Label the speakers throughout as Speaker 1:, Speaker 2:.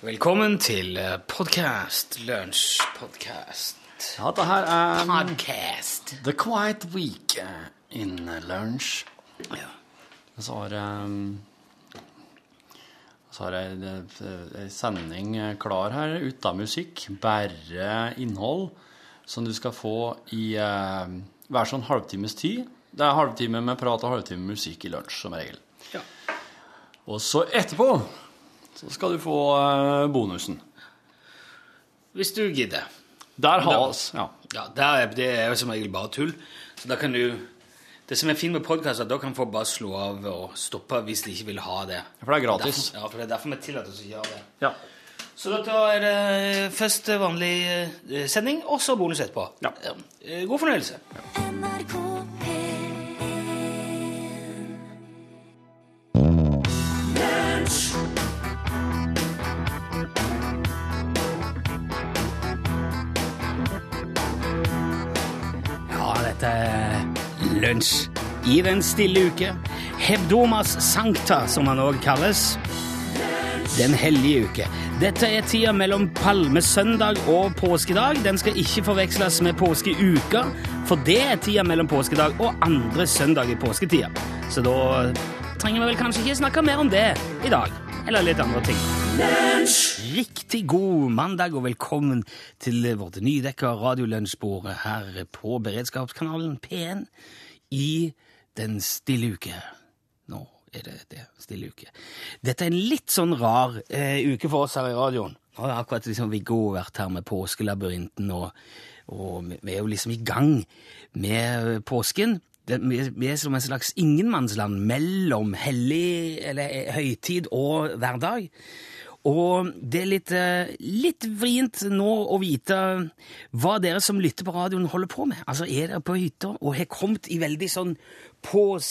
Speaker 1: Velkommen til eh, podcast, lunsj podcast.
Speaker 2: Ja, det her er
Speaker 1: Podcast.
Speaker 2: The Quiet Week eh, in lunch. Og så har jeg Så har jeg eh, eh, en sending eh, klar her, uten musikk, bare innhold, som du skal få i eh, hver sånn halvtimes tid. Det er halvtime med prat og halvtime med musikk i lunsj, som regel.
Speaker 1: Ja.
Speaker 2: Og så etterpå så skal du få eh, bonusen.
Speaker 1: Hvis du gidder.
Speaker 2: Der
Speaker 1: Da-
Speaker 2: har vi oss. Ja.
Speaker 1: Ja, det er, det er jo som regel bare tull. Så da kan du... Det som er fint med podcast, er at da kan folk bare slå av og stoppe hvis de ikke vil ha det.
Speaker 2: For det er gratis.
Speaker 1: Derfor, ja, for det er derfor vi tillater oss å gjøre det.
Speaker 2: Ja.
Speaker 1: Så da er det først vanlig eh, sending, og så bonus etterpå.
Speaker 2: Ja.
Speaker 1: Eh, God fornøyelse.
Speaker 3: NRK P1
Speaker 1: Ja, dette er lunsj i den stille uke. Hebdomas sankta, som han òg kalles. Den hellige uke. Dette er tida mellom palmesøndag og påskedag. Den skal ikke forveksles med påskeuka, for det er tida mellom påskedag og andre søndag i påsketida. Så da trenger vi vel kanskje ikke snakke mer om det i dag. Eller litt andre ting. Riktig god mandag og velkommen til vårt nydekka radiolunsjbord her på beredskapskanalen P1 i den stille uke. Nå er det det, stille uke. Dette er en litt sånn rar eh, uke for oss her i radioen. Nå har akkurat liksom Viggo vært her med påskelabyrinten, og, og vi er jo liksom i gang med påsken. Det, vi er- vi er som en slags ingenmannsland mellom hellig, eller eh, høytid og hverdag. Og det er litt, eh, litt vrient nå å vite hva dere som lytter på radioen holder på med. Altså, er dere på hytta og har kommet i veldig sånn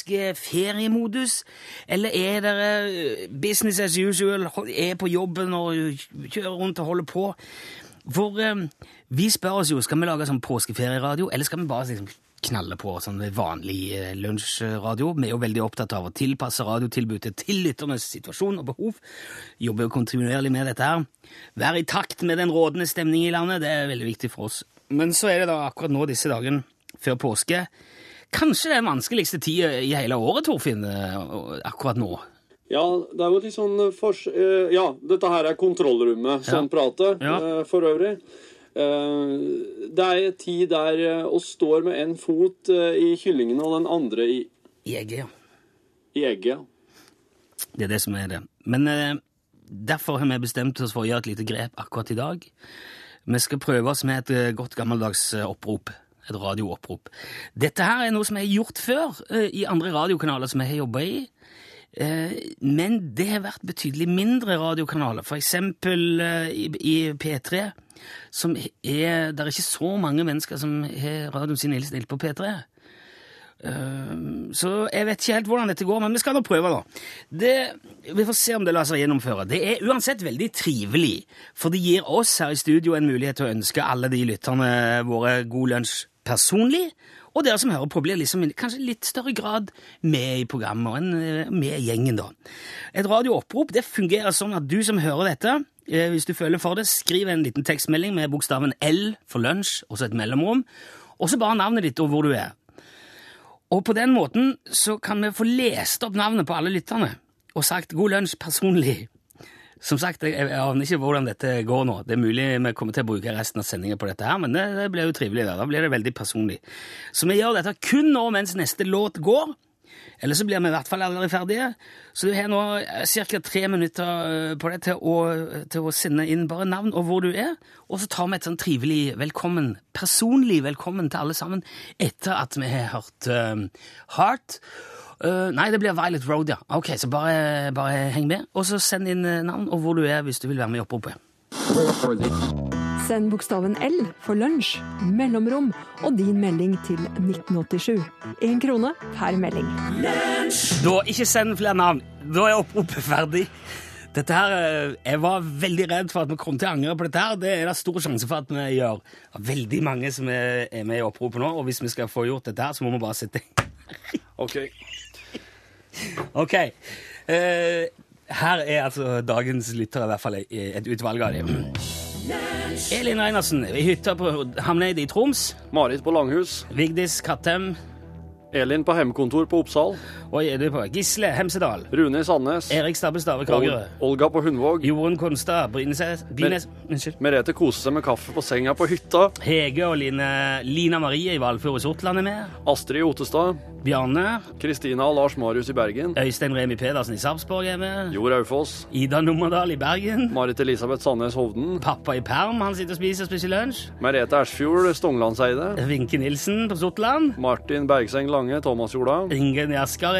Speaker 1: påskeferiemodus? Eller er dere eh, business as usual, ho- er på jobben og kjører rundt og holder på? For eh, vi spør oss jo, skal vi lage sånn påskeferieradio, eller skal vi bare liksom knalle på sånn vanlig eh, lunsjradio. Vi er jo veldig opptatt av å tilpasse radiotilbudet til lytternes situasjon og behov. Jobber jo kontinuerlig med dette her. Være i takt med den rådende stemningen i landet, det er veldig viktig for oss. Men så er det da akkurat nå disse dagene før påske. Kanskje den vanskeligste tida i hele året, Torfinn, eh, akkurat nå.
Speaker 4: Ja, det er jo litt sånn eh, fors... eh, Ja, dette her er kontrollrommet som prater,
Speaker 1: Ja.
Speaker 4: eh, for øvrig. Eh, Det er en tid der eh, oss står med en fot eh, i kyllingen og den andre i,
Speaker 1: I Egge, ja.
Speaker 4: i egget.
Speaker 1: Det er det som er det. Men eh, derfor har vi bestemt oss for å gjøre et lite grep akkurat i dag. Vi skal prøve oss med et eh, godt gammeldags eh, opprop. Et radioopprop. Dette her er noe som jeg har gjort før eh, i andre radiokanaler som jeg har jobba i. Eh, men det har vært betydelig mindre radiokanaler, for eksempel eh, i, i P3, som er, det er ikke så mange mennesker som har radioen sin innstilt på P3. Så jeg vet ikke helt hvordan dette går, men vi skal nå prøve, da. Det, vi får se om det lar seg gjennomføre. Det er uansett veldig trivelig, for det gir oss her i studio en mulighet til å ønske alle de lytterne våre god lunsj personlig, og dere som hører på, blir liksom i kanskje litt større grad med i programmet og en, eh, med i gjengen, da. Et radioopprop det fungerer sånn at du som hører dette, eh, hvis du føler for det, skriv en liten tekstmelding med bokstaven L for lunsj, og så et mellomrom, og så bare navnet ditt og hvor du er. Og på den måten så kan vi få lest opp navnet på alle lytterne og sagt god lunsj personlig. Som sagt, jeg, jeg aner ikke hvordan dette går nå. Det er mulig vi kommer til å bruke resten av sendingen på dette her, men det, det blir jo trivelig. Da. da blir det veldig personlig. Så vi gjør dette kun nå mens neste låt går. Eller så blir vi i hvert fall aldri ferdige. Så du har nå ca. tre minutter eh, på deg til å, til å sende inn bare navn og hvor du er. Og så tar vi et sånn trivelig velkommen, personlig velkommen til alle sammen etter at vi har hørt eh, Heart. Eh, nei, det blir Violet Road, ja. Ok, Så bare, bare heng med. Og så send inn eh, navn og hvor du er hvis du vil være med i oppropet.
Speaker 5: Send bokstaven L for lunsj, mellomrom og din melding til 1987. Én krone per melding.
Speaker 1: Da, ikke send flere navn. Da er oppropet ferdig. Dette her, eh, Jeg var veldig redd for at vi kom til å angre på dette. her. Det er det stor sjanse for at vi gjør. Det er veldig mange som er er med i oppropet nå, og hvis vi skal få gjort dette her, så må vi bare sitte
Speaker 4: OK.
Speaker 1: Ok. Eh, Her er altså dagens lyttere i hvert fall et utvalg av dem. Elin Reinersen i hytta på Hamneid i Troms.
Speaker 4: Marit på Langhus.
Speaker 1: Vigdis Kattem.
Speaker 4: Elin på hjemmekontor på Oppsal.
Speaker 1: Oi, er du på? Gisle Hemsedal.
Speaker 4: Rune i Sandnes.
Speaker 1: Erik Stabbe Stave Kragerø.
Speaker 4: Olga på Hundvåg.
Speaker 1: Jorunn Konstad Brynes, Brynes Unnskyld.
Speaker 4: Merete koser seg med kaffe på senga på hytta.
Speaker 1: Hege og Line, Lina Marie i Valfjord og Sortland er med.
Speaker 4: Astrid i Otestad.
Speaker 1: Bjarne.
Speaker 4: Kristina og Lars Marius i Bergen.
Speaker 1: Øystein Remi Pedersen i Sarpsborg er med.
Speaker 4: Jord Aufoss.
Speaker 1: Ida Nummerdal i Bergen.
Speaker 4: Marit Elisabeth Sandnes Hovden.
Speaker 1: Pappa i perm, han sitter og spiser og spiser lunsj.
Speaker 4: Merete Ersfjord, Stonglandseide.
Speaker 1: Vinke Nilsen på Sortland.
Speaker 4: Martin Bergseng Lange, Thomas Jorda.
Speaker 1: Ingen Jaskar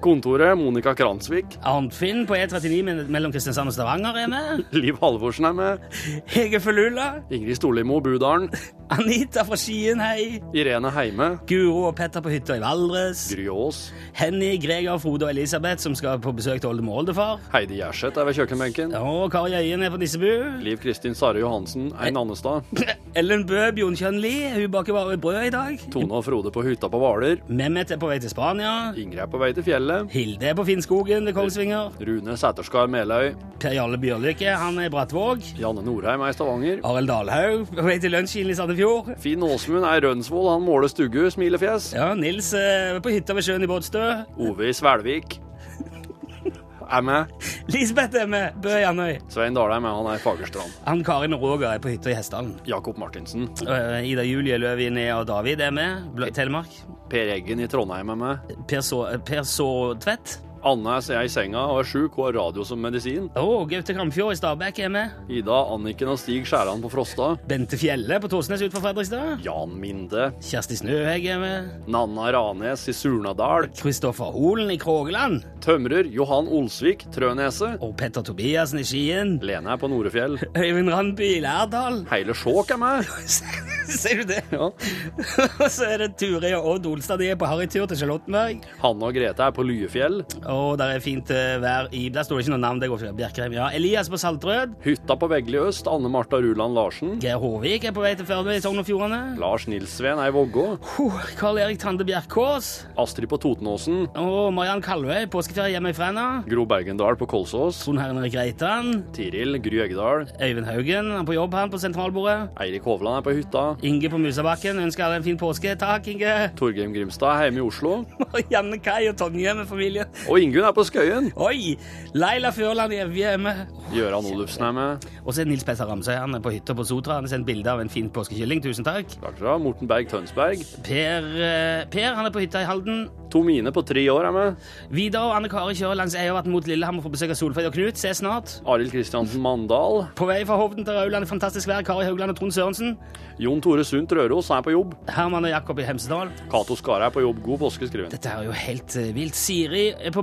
Speaker 4: Kontoret Monica Kransvik.
Speaker 1: Arnfinn på E39 med- mellom Kristiansand og Stavanger er med.
Speaker 4: Liv Halvorsen er med.
Speaker 1: Hege Felula.
Speaker 4: Ingrid Storlimo Budalen.
Speaker 1: Anita fra Skien, hei.
Speaker 4: Irene Heime.
Speaker 1: Guro og Petter på hytta i Valdres.
Speaker 4: Gry Aas.
Speaker 1: Henny, Greger, Frode og Elisabeth som skal på besøk til oldemor og oldefar.
Speaker 4: Heidi Gjerseth er ved kjøkkenbenken.
Speaker 1: Og Kari Øyen er på Nissebu.
Speaker 4: Liv Kristin Sare Johansen, Ein Annestad.
Speaker 1: Ellen Bø, Bjørn Kjønli, hun baker bare brød i dag.
Speaker 4: Tone og Frode på hytta på Hvaler.
Speaker 1: Mehmet er på vei til Spania.
Speaker 4: Ingrid er på vei til fjellet.
Speaker 1: Hilde er på Finnskogen ved Kongsvinger.
Speaker 4: Rune Sæterskar Meløy.
Speaker 1: Per Jarle Bjørlykke, han er i Brattvåg.
Speaker 4: Janne Norheim er i Stavanger.
Speaker 1: Arild Dalhaug på vei til lunsjkilen i Sandefjord.
Speaker 4: Finn Åsmund er i Rønsvoll, han måler stugge, smilefjes.
Speaker 1: Ja, Nils eh, på hytta ved sjøen i Båtsstø.
Speaker 4: Ove i Svelvik. Er med.
Speaker 1: Lisbeth er med, Bø i Andøy.
Speaker 4: Svein Dale er med, han er i Fagerstrand.
Speaker 1: Han Karin og Roger er på hytta i Hessdalen.
Speaker 4: Jakob Martinsen.
Speaker 1: Eh, Ida Julie Løvin er og David er med, Blå, Telemark.
Speaker 4: Per Eggen i Trondheim er med.
Speaker 1: Per, så, eh, per Saatvedt.
Speaker 4: Anne er i senga og er sjuk og har radio som medisin.
Speaker 1: Og Gaute Kramfjord i Stabæk er med.
Speaker 4: Ida, Anniken og Stig Skjæran på Frosta.
Speaker 1: Bente Fjelle på Torsnes utenfor Fredrikstad.
Speaker 4: Jan Minde.
Speaker 1: Kjersti Snøhegg er med.
Speaker 4: Nanna Ranes i Surnadal.
Speaker 1: Kristoffer Holen i Krogeland.
Speaker 4: Tømrer Johan Olsvik, Trøneset.
Speaker 1: Og Petter Tobiassen i Skien.
Speaker 4: Lene er på Norefjell.
Speaker 1: Øyvind Randby i Lærdal.
Speaker 4: Heile Skjåk er med.
Speaker 1: Ser du det?
Speaker 4: Ja.
Speaker 1: Og så er det Turi og Odd Olstad. De er på harrytur til Charlottenberg.
Speaker 4: Hanne og Grete er på Lyefjell.
Speaker 1: Og der er fint eh, vær i Der står det ikke noe navn. det går ikke. Bjerkreim, ja. Elias på Saltrød.
Speaker 4: Hytta på Veggli øst, Anne Marta Ruland Larsen.
Speaker 1: Geir Håvik er på vei til Førde i Sogn og Fjordane.
Speaker 4: Lars Nilsveen er i Vågå.
Speaker 1: Huh, Karl Erik Tande Bjerkås.
Speaker 4: Astrid på Totenåsen.
Speaker 1: Og Mariann Kalvøy, påskeferie hjemme i Fræna.
Speaker 4: Gro Bergendal på Kolsås.
Speaker 1: Trond Herner i Reitan.
Speaker 4: Tiril Gry Eggedal.
Speaker 1: Øyvind Haugen han er på jobb han på sentralbordet.
Speaker 4: Eirik Hovland er på hytta.
Speaker 1: Inge på Musabakken ønsker alle en fin påske. Takk, Inge.
Speaker 4: Torgrim Grimstad er hjemme i Oslo.
Speaker 1: Janne Kai og Tonje med familie.
Speaker 4: Og Ingunn er på Skøyen.
Speaker 1: Oi! Leila Førland i Evje er med.
Speaker 4: Gøran Olufsen er med.
Speaker 1: Og så er Nils Petter Ramsøy han er på hytta på Sotra. Han har sendt bilde av en fin påskekylling. Tusen takk.
Speaker 4: Takk skal du ha. Morten Berg Tønsberg.
Speaker 1: Per, eh, per han er på hytta i Halden.
Speaker 4: Tomine på tre år er med.
Speaker 1: Vidar og Anne Kari kjører langs Eiervatn mot Lillehammer for å besøke Solfrid og Knut. Se snart.
Speaker 4: Arild Kristiansen Mandal.
Speaker 1: På vei fra Hovden til Rauland i fantastisk vær. Kari Haugland og Trond Sørensen.
Speaker 4: Jon Tore Sundt Røros er på jobb.
Speaker 1: Herman og Jakob i Hemsedal.
Speaker 4: Cato Skare er på jobb. God påske, skriver hun.
Speaker 1: Dette er jo helt eh, vilt. Siri er på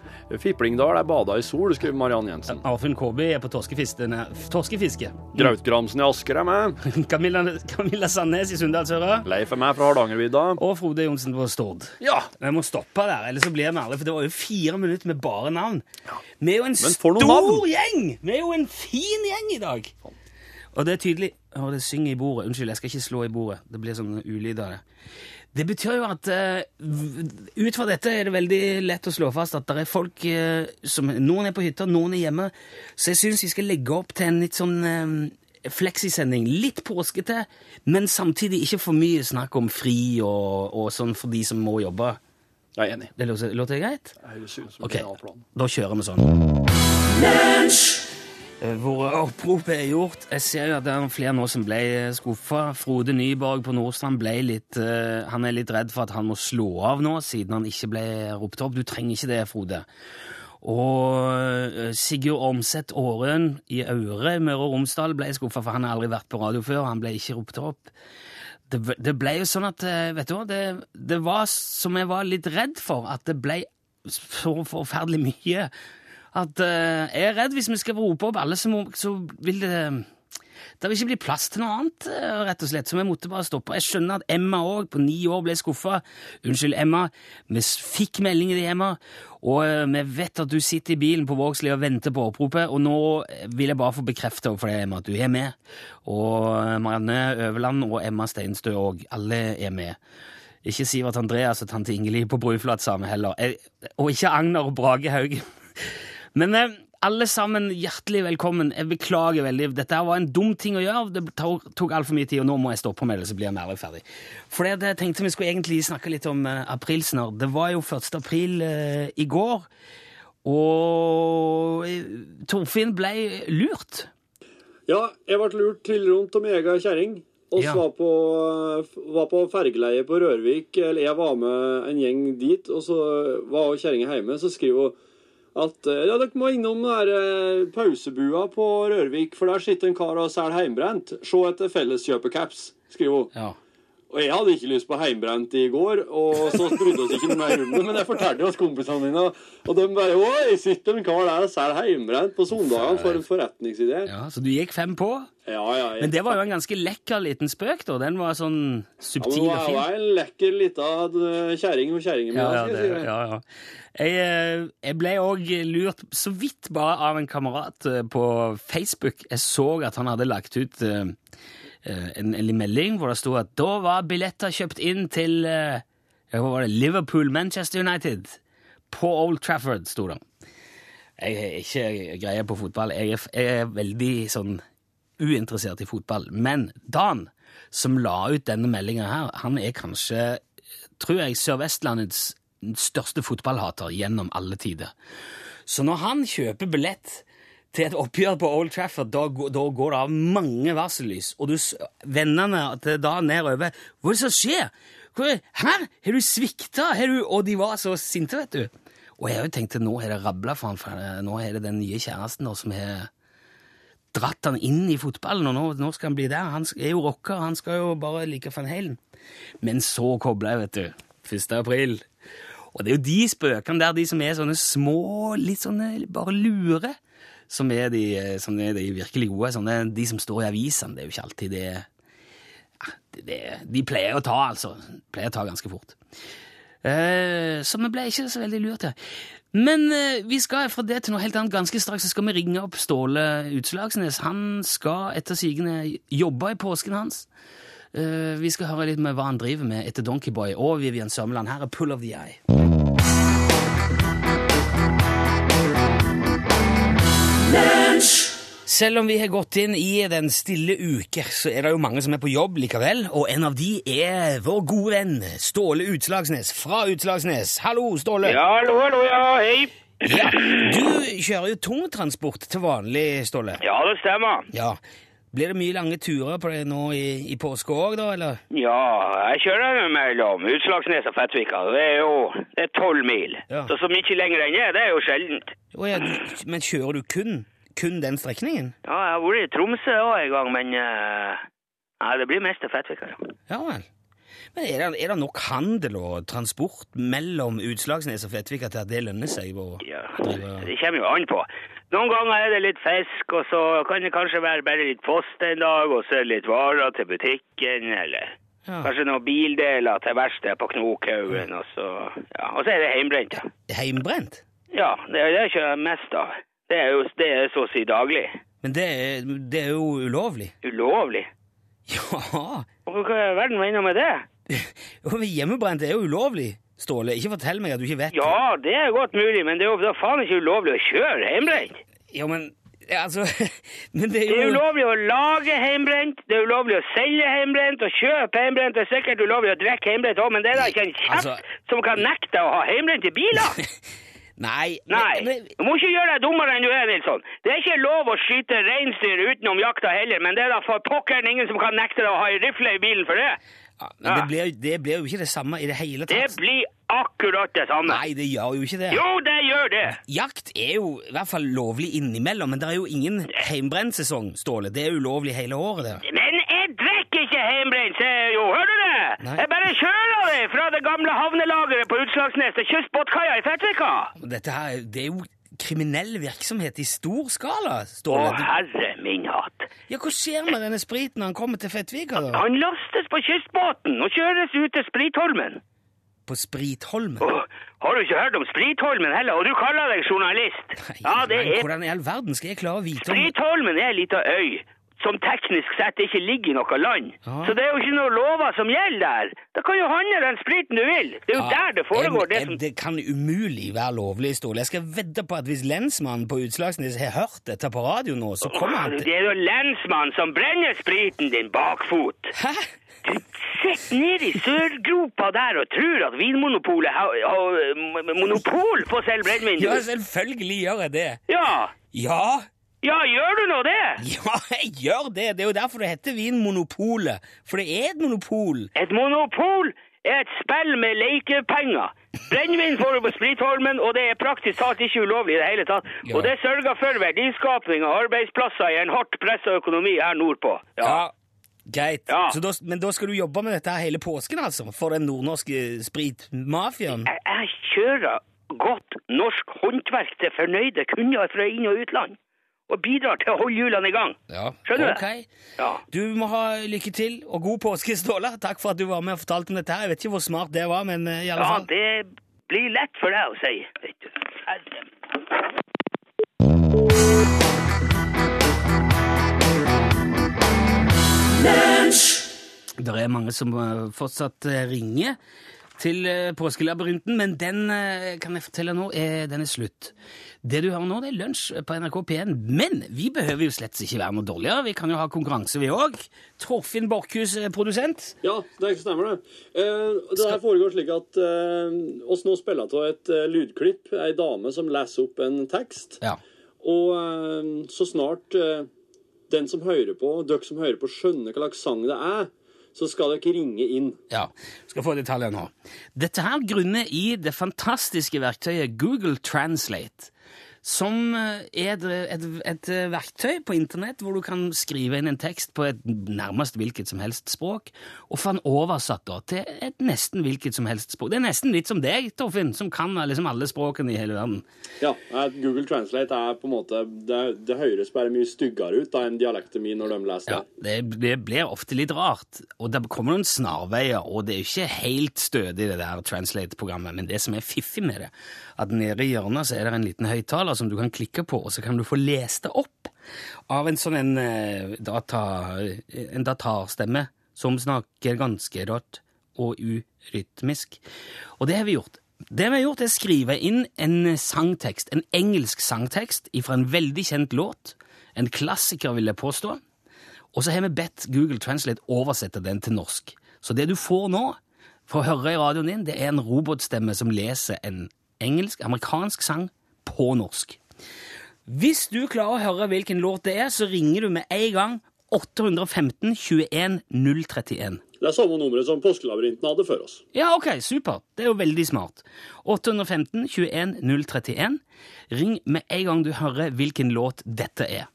Speaker 4: Fiplingdal er bada i sol, skriver Mariann Jensen.
Speaker 1: Arfinn Kaabe er på torskefiste- nei, torskefiske.
Speaker 4: Grautgramsen i Asker er med.
Speaker 1: Camilla, Camilla Sandnes i Sunndalsøra.
Speaker 4: Leif er med fra Hardangervidda.
Speaker 1: Og Frode Johnsen på Stord.
Speaker 4: Ja,
Speaker 1: Vi må stoppe der, ellers så blir vi aldri For det var jo fire minutter med bare navn. Vi er jo en
Speaker 4: for
Speaker 1: stor
Speaker 4: noen navn! Sånn.
Speaker 1: gjeng! Vi er jo en fin gjeng i dag. Og det er tydelig Å, det synger i bordet. Unnskyld, jeg skal ikke slå i bordet. Det blir sånn ulyd av det. Det betyr jo at eh, v- ut fra dette er det veldig lett å slå fast at det er folk eh, som Noen er på hytta, noen er hjemme. Så jeg syns vi skal legge opp til en litt sånn eh, fleksisending. Litt påskete, men samtidig ikke for mye snakk om fri og, og sånn for de som må jobbe.
Speaker 4: jeg er enig.
Speaker 1: Det låter, låter greit?
Speaker 4: Jeg synes det
Speaker 1: Ok,
Speaker 4: er en annen plan.
Speaker 1: da kjører vi sånn. Eh, Hvor oppropet er gjort. Jeg ser jo at det er flere nå som ble skuffa. Frode Nyborg på Nordstrand ble litt, eh, han er litt redd for at han må slå av nå, siden han ikke ble ropt opp. Du trenger ikke det, Frode. Og eh, Sigurd Ormseth Aaren i Aure i Møre og Romsdal ble skuffa, for han har aldri vært på radio før. Han ble ikke ropt opp. Det, ble- det ble jo sånn at eh, Vet du hva, det, det var som jeg var litt redd for, at det ble så forferdelig mye. At eh, jeg er redd hvis vi skal rope opp alle, så, må, så vil det det vil ikke bli plass til noe annet, eh, rett og slett, så vi måtte bare stoppe. Jeg skjønner at Emma òg, på ni år, ble skuffa. Unnskyld, Emma. Vi s- fikk meldingen din, Emma, og eh, vi vet at du sitter i bilen på Vågslid og venter på oppropet, og nå eh, vil jeg bare få bekrefta for deg, Emma, at du er med. Og eh, Marianne Øverland og Emma Steinstø òg. Alle er med. Ikke Sivert Andreas og tante Ingelid på Bruflat sammen heller. Eh, Og ikke Agner og Brage Haugen. Men eh, alle sammen, hjertelig velkommen. Jeg beklager veldig. Dette her var en dum ting å gjøre. Det tok, tok altfor mye tid, og nå må jeg stoppe med det, så blir jeg mer ferdig. For det, det jeg tenkte vi skulle egentlig snakke litt om eh, aprilsnarr. Det var jo 1. april eh, i går, og eh, Torfinn ble lurt.
Speaker 4: Ja, jeg ble lurt til rundt om ega kjerring. Vi
Speaker 1: Ja.
Speaker 4: var, på, var på fergeleie på Rørvik. Eller jeg var med en gjeng dit, og så var kjerringa hjemme. Så skriver hun at eh, ja, dere må innom den der eh, pausebua på Rørvik, for der sitter en kar og selger heimbrent. Se etter felleskjøpecaps, skriver hun.
Speaker 1: Ja.
Speaker 4: Og jeg hadde ikke lyst på heimbrent i går, og så brydde oss ikke noe mer om det, men jeg fortalte oss kompisene mine, og de bare Oi, sitter en kar der og selger heimbrent på søndagene for en forretningsidé?
Speaker 1: ja, Så du gikk fem på?
Speaker 4: Ja, ja, jeg-
Speaker 1: Men det var jo en ganske lekker liten spøk, da. Den var sånn
Speaker 4: Ja,
Speaker 1: subtil
Speaker 4: men
Speaker 1: og
Speaker 4: hun
Speaker 1: fin.
Speaker 4: er en lekker lita eh, kjerring og kjerringa mi.
Speaker 1: Ja,
Speaker 4: da,
Speaker 1: ja,
Speaker 4: skal
Speaker 1: det,
Speaker 4: jeg si deg.
Speaker 1: ja, ja. Jeg, eh, jeg ble òg lurt så vidt bare av en kamerat eh, på Facebook. Jeg så at han hadde lagt ut eh, eh, en, en melding hvor det sto at da var billetter kjøpt inn til eh, ja, hva var det, Liverpool, Manchester United. På Old Trafford, sto det. Jeg er ikke greie på fotball. Jeg er, f- jeg er veldig sånn uinteressert i fotball. Men Dan, som la ut denne meldinga her, han er kanskje tror jeg, Sør-Vestlandets største fotballhater gjennom alle tider. Så når han kjøper billett til et oppgjør på Old Trafford, da, gå- da går det av mange varsellys, og du, s- vennene til da nedover Hva er det som skjer? Hva, hæ? Har du svikta? Har du Og de var så sinte, vet du. Og jeg òg tenkte nå har det rabla for han, for eh, nå er det den nye kjæresten da, som har dratt han inn i fotballen, og nå, nå skal han bli der. Han sk- er jo rocker, han skal jo bare like Van Halen. Men så kobla jeg, vet du. 1. april. Og det er jo de spøkene der, de som er sånne små, litt sånne bare lure, som er de, eh, som er de virkelig gode. Sånne, de som står i avisene, det er jo ikke alltid det Ah, det, det De pleier å ta, altså. Pleier å ta ganske fort. Eh, Så vi ble ikke så veldig lurt her. Men eh, vi skal fra det til noe helt annet. Ganske straks så skal vi ringe opp Ståle Utslagsnes. Han skal etter sigende jobbe i påsken hans. Eh, Vi skal høre litt med hva han driver med etter Donkeyboy og Vivian Sørmeland. Her er Pull of the Eye. Selv om vi har gått inn i den stille uke, så er det jo mange som er på jobb likevel. Og en av de er vår gode venn Ståle Utslagsnes fra Utslagsnes. Hallo, Ståle.
Speaker 3: Ja, hallo, hallo, ja, hei.
Speaker 1: Ja, Du kjører jo tungtransport til vanlig, Ståle.
Speaker 3: Ja, det stemmer.
Speaker 1: Ja. Blir det mye lange turer på det nå i, i påske òg, da? eller?
Speaker 3: Ja, jeg kjører nå mellom Utslagsnes og Fettvika. Det er jo det er tolv mil.
Speaker 1: Ja.
Speaker 3: Så så mye lenger enn det, det er jo sjeldent.
Speaker 1: Å ja, du- men kjører du kun, kun den strekningen?
Speaker 3: Ja, jeg har vært i Tromsø også en gang, men eh, Nei, det blir mest til Fettvika, ja.
Speaker 1: Ja vel. Men er det, er det nok handel og transport mellom Utslagsnes og Fettvika til at det lønner seg? å
Speaker 3: ja.
Speaker 1: drive-
Speaker 3: Det kommer jo an på. Noen ganger er det litt fisk, og så kan det kanskje være bare litt post en dag, og så er det litt varer til butikken, eller
Speaker 1: Ja.
Speaker 3: Kanskje noen bildeler til verkstedet på Knokhaugen, og så Ja, og så er det hjemmebrent, ja.
Speaker 1: Heimbrent?
Speaker 3: Ja, det er det jeg kjører mest av. Det er jo det er så å si daglig.
Speaker 1: Men det er, det er jo ulovlig.
Speaker 3: Ulovlig.
Speaker 1: Ja!
Speaker 3: Og Hva i all verden mener du med det?
Speaker 1: Jo, men Hjemmebrent er jo ulovlig, Ståle. Ikke fortell meg at du ikke vet
Speaker 3: Ja, det er godt mulig, men det er jo da faen ikke ulovlig å kjøre hjemmebrent.
Speaker 1: Ja, men ja, Altså Men det
Speaker 3: Det
Speaker 1: er
Speaker 3: er
Speaker 1: jo
Speaker 3: ulovlig å lage hjemmebrent, det er ulovlig å selge hjemmebrent, å kjøpe hjemmebrent, det er sikkert ulovlig å drikke hjemmebrent òg, men det er da ikke en kjepp
Speaker 1: Altså-
Speaker 3: som kan nekte å ha hjemmebrent i biler.
Speaker 1: Nei.
Speaker 3: Nei,
Speaker 1: Men, men,
Speaker 3: du må ikke gjøre deg dummere enn du er, Nilsson. Det er ikke lov å skyte reinsdyr utenom jakta heller, men det er da for pokkeren ingen som kan nekte deg å ha ei rifle i bilen for det.
Speaker 1: ja, men det, blir, det blir jo ikke det samme i det hele
Speaker 3: Det
Speaker 1: tatt.
Speaker 3: blir akkurat det samme.
Speaker 1: Nei, det gjør jo ikke det.
Speaker 3: Jo, det gjør det.
Speaker 1: Jakt er jo i hvert fall lovlig innimellom, men det er jo ingen heimebrentsesong, Ståle. Det er ulovlig hele året, det.
Speaker 3: Men jeg drikker ikke hjemmebrent, sier jeg jo. Hører du det?
Speaker 1: Nei.
Speaker 3: Jeg bare kjører det fra det gamle havnelageret på Utslagsnes til kystbåtkaia i Fettvika.
Speaker 1: Dette her, det er jo kriminell virksomhet i stor skala,
Speaker 3: Å,
Speaker 1: Ståle. Du-
Speaker 3: herre min hatt.
Speaker 1: Ja, hva skjer med denne spriten når han kommer til Fettvika, da?
Speaker 3: Han lastes på kystbåten og kjøres ut til Spritholmen.
Speaker 1: På Spritholmen?
Speaker 3: Åh, har du ikke hørt om Spritholmen heller? Og du kaller deg journalist? Ja, det
Speaker 1: Nei,
Speaker 3: er
Speaker 1: Hvordan i all verden skal jeg klare å vite om
Speaker 3: Spritholmen er ei lita øy som teknisk sett ikke ligger i noe land.
Speaker 1: Ja.
Speaker 3: Så det er jo ikke noen lover som gjelder der. Da kan jo handle den spriten du vil. Det er jo der det foregår.
Speaker 1: det,
Speaker 3: Det som...
Speaker 1: det kan umulig være lovlig, Ståle. Jeg skal vedde på at hvis lensmannen på Utslagsnes har hørt dette på radio nå, så kommer han
Speaker 3: Det
Speaker 1: til
Speaker 3: er jo lensmannen som brenner spriten din bakfot.
Speaker 1: Hæ?
Speaker 3: Du sitter nede i sørgropa der og tror at Vinmonopolet har, har m- monopol på å selge brennevin.
Speaker 1: Ja, selvfølgelig gjør jeg det.
Speaker 3: Ja.
Speaker 1: Ja,
Speaker 3: ja, gjør du nå det?
Speaker 1: ja, jeg gjør det. Det er jo derfor det heter Vinmonopolet. For det er et monopol.
Speaker 3: Et monopol er et spill med lekepenger. Brennevin får du på Spritholmen, og det er praktisk talt ikke ulovlig i det hele tatt.
Speaker 1: Ja.
Speaker 3: Og det sørger for verdiskapning og arbeidsplasser i en hardt pressa økonomi her nordpå.
Speaker 1: Ja, greit.
Speaker 3: Ja.
Speaker 1: Så da, men da skal du jobbe med dette her hele påsken, altså? For den nordnorske eh, spritmafiaen?
Speaker 3: Jeg, jeg kjører godt norsk håndverk til fornøyde kunder fra inn- og utland. Og bidrar til å holde hjulene i gang.
Speaker 1: Ja,
Speaker 3: Skjønner du?
Speaker 1: ok.
Speaker 3: Ja.
Speaker 1: Du må ha lykke til, og god påske, Ståle. Takk for at du var med og fortalte om dette. her. Jeg vet ikke hvor smart det var, men eh, i alle
Speaker 3: ja,
Speaker 1: fall.
Speaker 3: det blir lett for deg å si. Vet du. Herre.
Speaker 1: Det er mange som eh, fortsatt eh, ringer til eh, Påskelabyrinten, men den eh, kan jeg fortelle nå, er, den er slutt. Det du hører nå, det er lunsj på NRK P1, men vi behøver jo slett ikke være noe dårligere. Vi kan jo ha konkurranse, vi òg. Torfinn Borchhus er produsent.
Speaker 4: Ja, det stemmer, det. Eh, det her foregår slik at eh, oss nå spiller av et eh, lydklipp. Ei dame som leser opp en tekst.
Speaker 1: Ja.
Speaker 4: Og eh, så snart eh, den som hører på, dere som hører på, skjønner hva slags sang det er, så skal dere ringe inn.
Speaker 1: Ja, skal få detaljer nå. Dette her grunner i det fantastiske verktøyet Google Translate, som eh, er et, et, et eh, verktøy på internett hvor du kan skrive inn en tekst på et nærmest hvilket som helst språk, og få den oversatt da til et nesten hvilket som helst språk. Det er nesten litt som deg, Torfinn, som kan liksom alle språkene i hele verden.
Speaker 4: Ja, eh, Google Translate er på en måte Det, det høres bare mye styggere ut da enn dialekten min når de leser
Speaker 1: Ja,
Speaker 4: det.
Speaker 1: det, det blir ofte litt rart, og det kommer noen snarveier, og det er jo ikke helt stødig det der Translate-programmet, men det som er fiffig med det, at nede i hjørnet så er det en liten høyttaler som du kan klikke på, og så kan du få lest det opp av en sånn en, eh, data, en datarstemme som snakker ganske rått og urytmisk. Og det har vi gjort. Det vi har gjort, er å skrive inn en sangtekst, en engelsk sangtekst fra en veldig kjent låt, en klassiker vil jeg påstå, og så har vi bedt Google Translate oversette den til norsk. Så det du får nå, for å høre i radioen din, det er en robotstemme som leser en engelsk, amerikansk sang på norsk. Hvis du klarer å høre hvilken låt det er, så ringer du med en gang 815 21 031.
Speaker 4: Det er samme nummeret som Påskelabyrinten hadde før oss.
Speaker 1: Ja, ok, supert. Det er jo veldig smart. 815 21 031. Ring med en gang du hører hvilken låt dette er.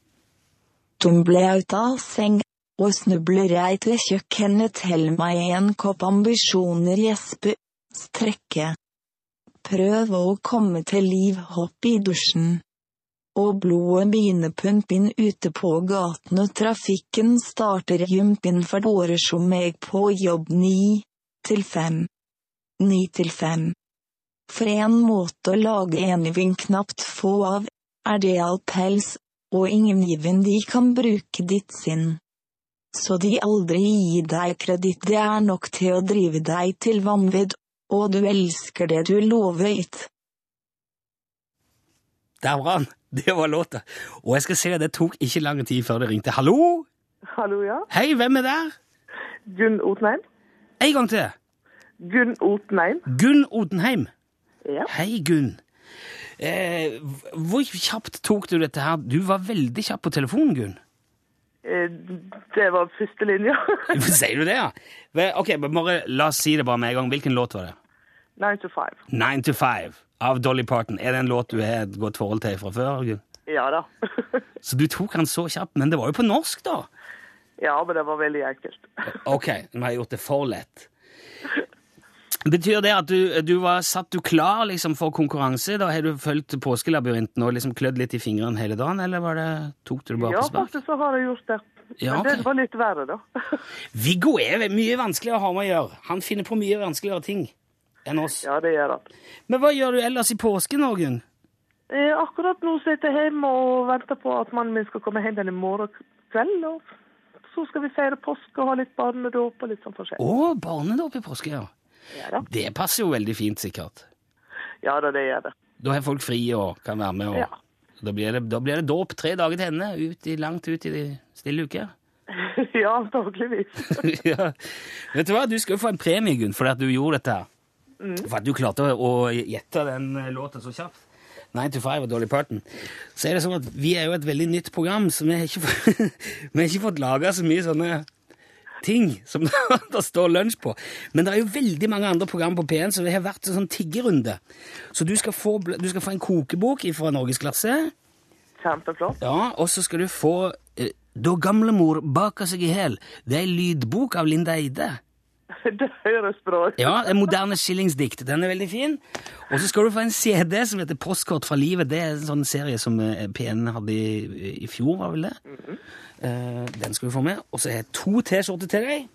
Speaker 6: tumler ut av seng, og snubler jeg til kjøkkenet til meg en kopp ambisjoner gjespe, strekke. Prøv å komme til liv hopp i dusjen. Og blodet begynner pump inn ute på gatene trafikken starter jump inn for dårer som meg på jobb ni til fem. Ni til fem. For en måte å lage eneving knapt få av, er det all pels og ingen given de kan bruke ditt sinn. Så de aldri gir deg kreditt, det er nok til å drive deg til vanvidd, og du elsker det du lover gitt.
Speaker 1: Der var han! Det var låta. Og jeg skal si at det tok ikke lang tid før det ringte. Hallo?
Speaker 7: Hallo, ja.
Speaker 1: Hei, hvem er der?
Speaker 7: Gunn Otnheim.
Speaker 1: En gang til.
Speaker 7: Gunn Otnheim.
Speaker 1: Gunn Odenheim.
Speaker 7: Ja.
Speaker 1: Hei, Gunn. Eh, hvor kjapt tok du dette her? Du var veldig kjapp på telefonen, Gunn.
Speaker 7: Eh, Det var første linja.
Speaker 1: Sier du det, ja? Vel, Ok, men bare la oss si det bare med en gang. Hvilken låt var det?
Speaker 7: Nine to five.
Speaker 1: Nine to Five av Dolly Parton. Er det en låt du har et godt forhold til fra før? Gunn?
Speaker 7: Ja da.
Speaker 1: Så du tok den så kjapt, men det var jo på norsk, da.
Speaker 7: ja, men det var veldig enkelt.
Speaker 1: Ok, nå har jeg gjort det for lett. Betyr det at du, du var satt du klar liksom, for konkurranse? Da Har du fulgt påskelabyrinten og liksom klødd litt i fingrene hele dagen, eller var det, tok du det bare
Speaker 7: Ja,
Speaker 1: på spark?
Speaker 7: faktisk så har jeg gjort det.
Speaker 1: Ja,
Speaker 7: Men
Speaker 1: ok.
Speaker 7: det var litt verre, da.
Speaker 1: Viggo er ve- mye vanskeligere å ha med å gjøre. Han finner på mye vanskeligere ting enn oss.
Speaker 7: Ja, det gjør han.
Speaker 1: Men hva gjør du ellers i påsken, da, Gunn?
Speaker 7: Eh, akkurat nå sitter jeg hjemme og venter på at mannen min skal komme hjem igjen i morgen kveld. Og så skal vi feire påske og ha litt barnedåp og litt sånn forskjellig.
Speaker 1: Å, barnedåp i påske, ja.
Speaker 7: Ja da.
Speaker 1: Det passer jo veldig fint, sikkert.
Speaker 7: Ja da, det gjør det.
Speaker 1: Da har folk fri og kan være med. Og,
Speaker 7: Ja.
Speaker 1: da, blir det, da blir det dåp tre dager til henne, ut i, langt ut i de stille uker.
Speaker 7: ja, antakeligvis.
Speaker 1: ja. Vet du hva, du skal jo få en premie, Gunn, fordi at du gjorde dette. her. For at du klarte å, å gjette den eh, låten så kjapt. 9 to 5 og Dolly Parton. Så er det sånn at vi er jo et veldig nytt program, så vi har ikke, fått- vi har ikke fått laga så mye sånne ting som det står lunsj på. Men det er jo veldig mange andre program på P1, så det har vært en sånn tiggerunde. Så du skal få, bl- du skal få en kokebok fra Norgesklasse.
Speaker 7: Kjempeflott.
Speaker 1: Ja, og så skal du få eh, Da gamlemor baker seg i hæl. Det er ei lydbok av Linda Eide.
Speaker 7: Det høres bra ut.
Speaker 1: Ja, En moderne skillingsdikt. Den er veldig fin. Og så skal du få en CD som heter Postkort fra livet. Det er en sånn serie som eh, P1 hadde i, i fjor, var vel det? Eh, den skal du få med. Og så har jeg to T-skjorter til deg.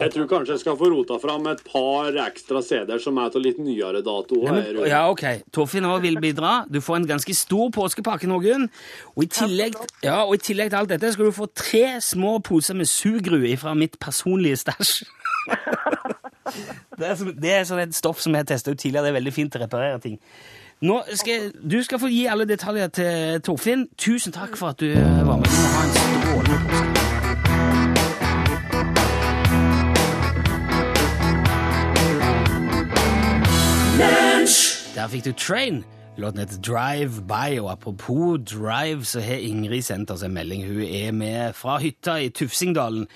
Speaker 4: Jeg tror kanskje jeg skal få rota fram et par ekstra CD-er som er av litt nyere dato.
Speaker 1: Ja,
Speaker 4: her,
Speaker 1: men,
Speaker 4: Rune.
Speaker 1: ja, ok. Torfinn òg vil bidra. Du får en ganske stor påskepakke nå, Gunn. Og i, tillegg, ja, og i tillegg til alt dette skal du få tre små poser med sugerud fra mitt personlige stæsj. det, er som- det er sånn et stoff som jeg testa ut tidligere. Det er veldig fint til å reparere ting. Nå skal, du skal få gi alle detaljer til Torfinn. Tusen takk for at du eh, var med. Du må ha en strålende påske. Der fikk du Train. Låten heter Drive By, og apropos Drive, så har Ingrid sendt oss en melding. Hun er med fra hytta i Tufsingdalen.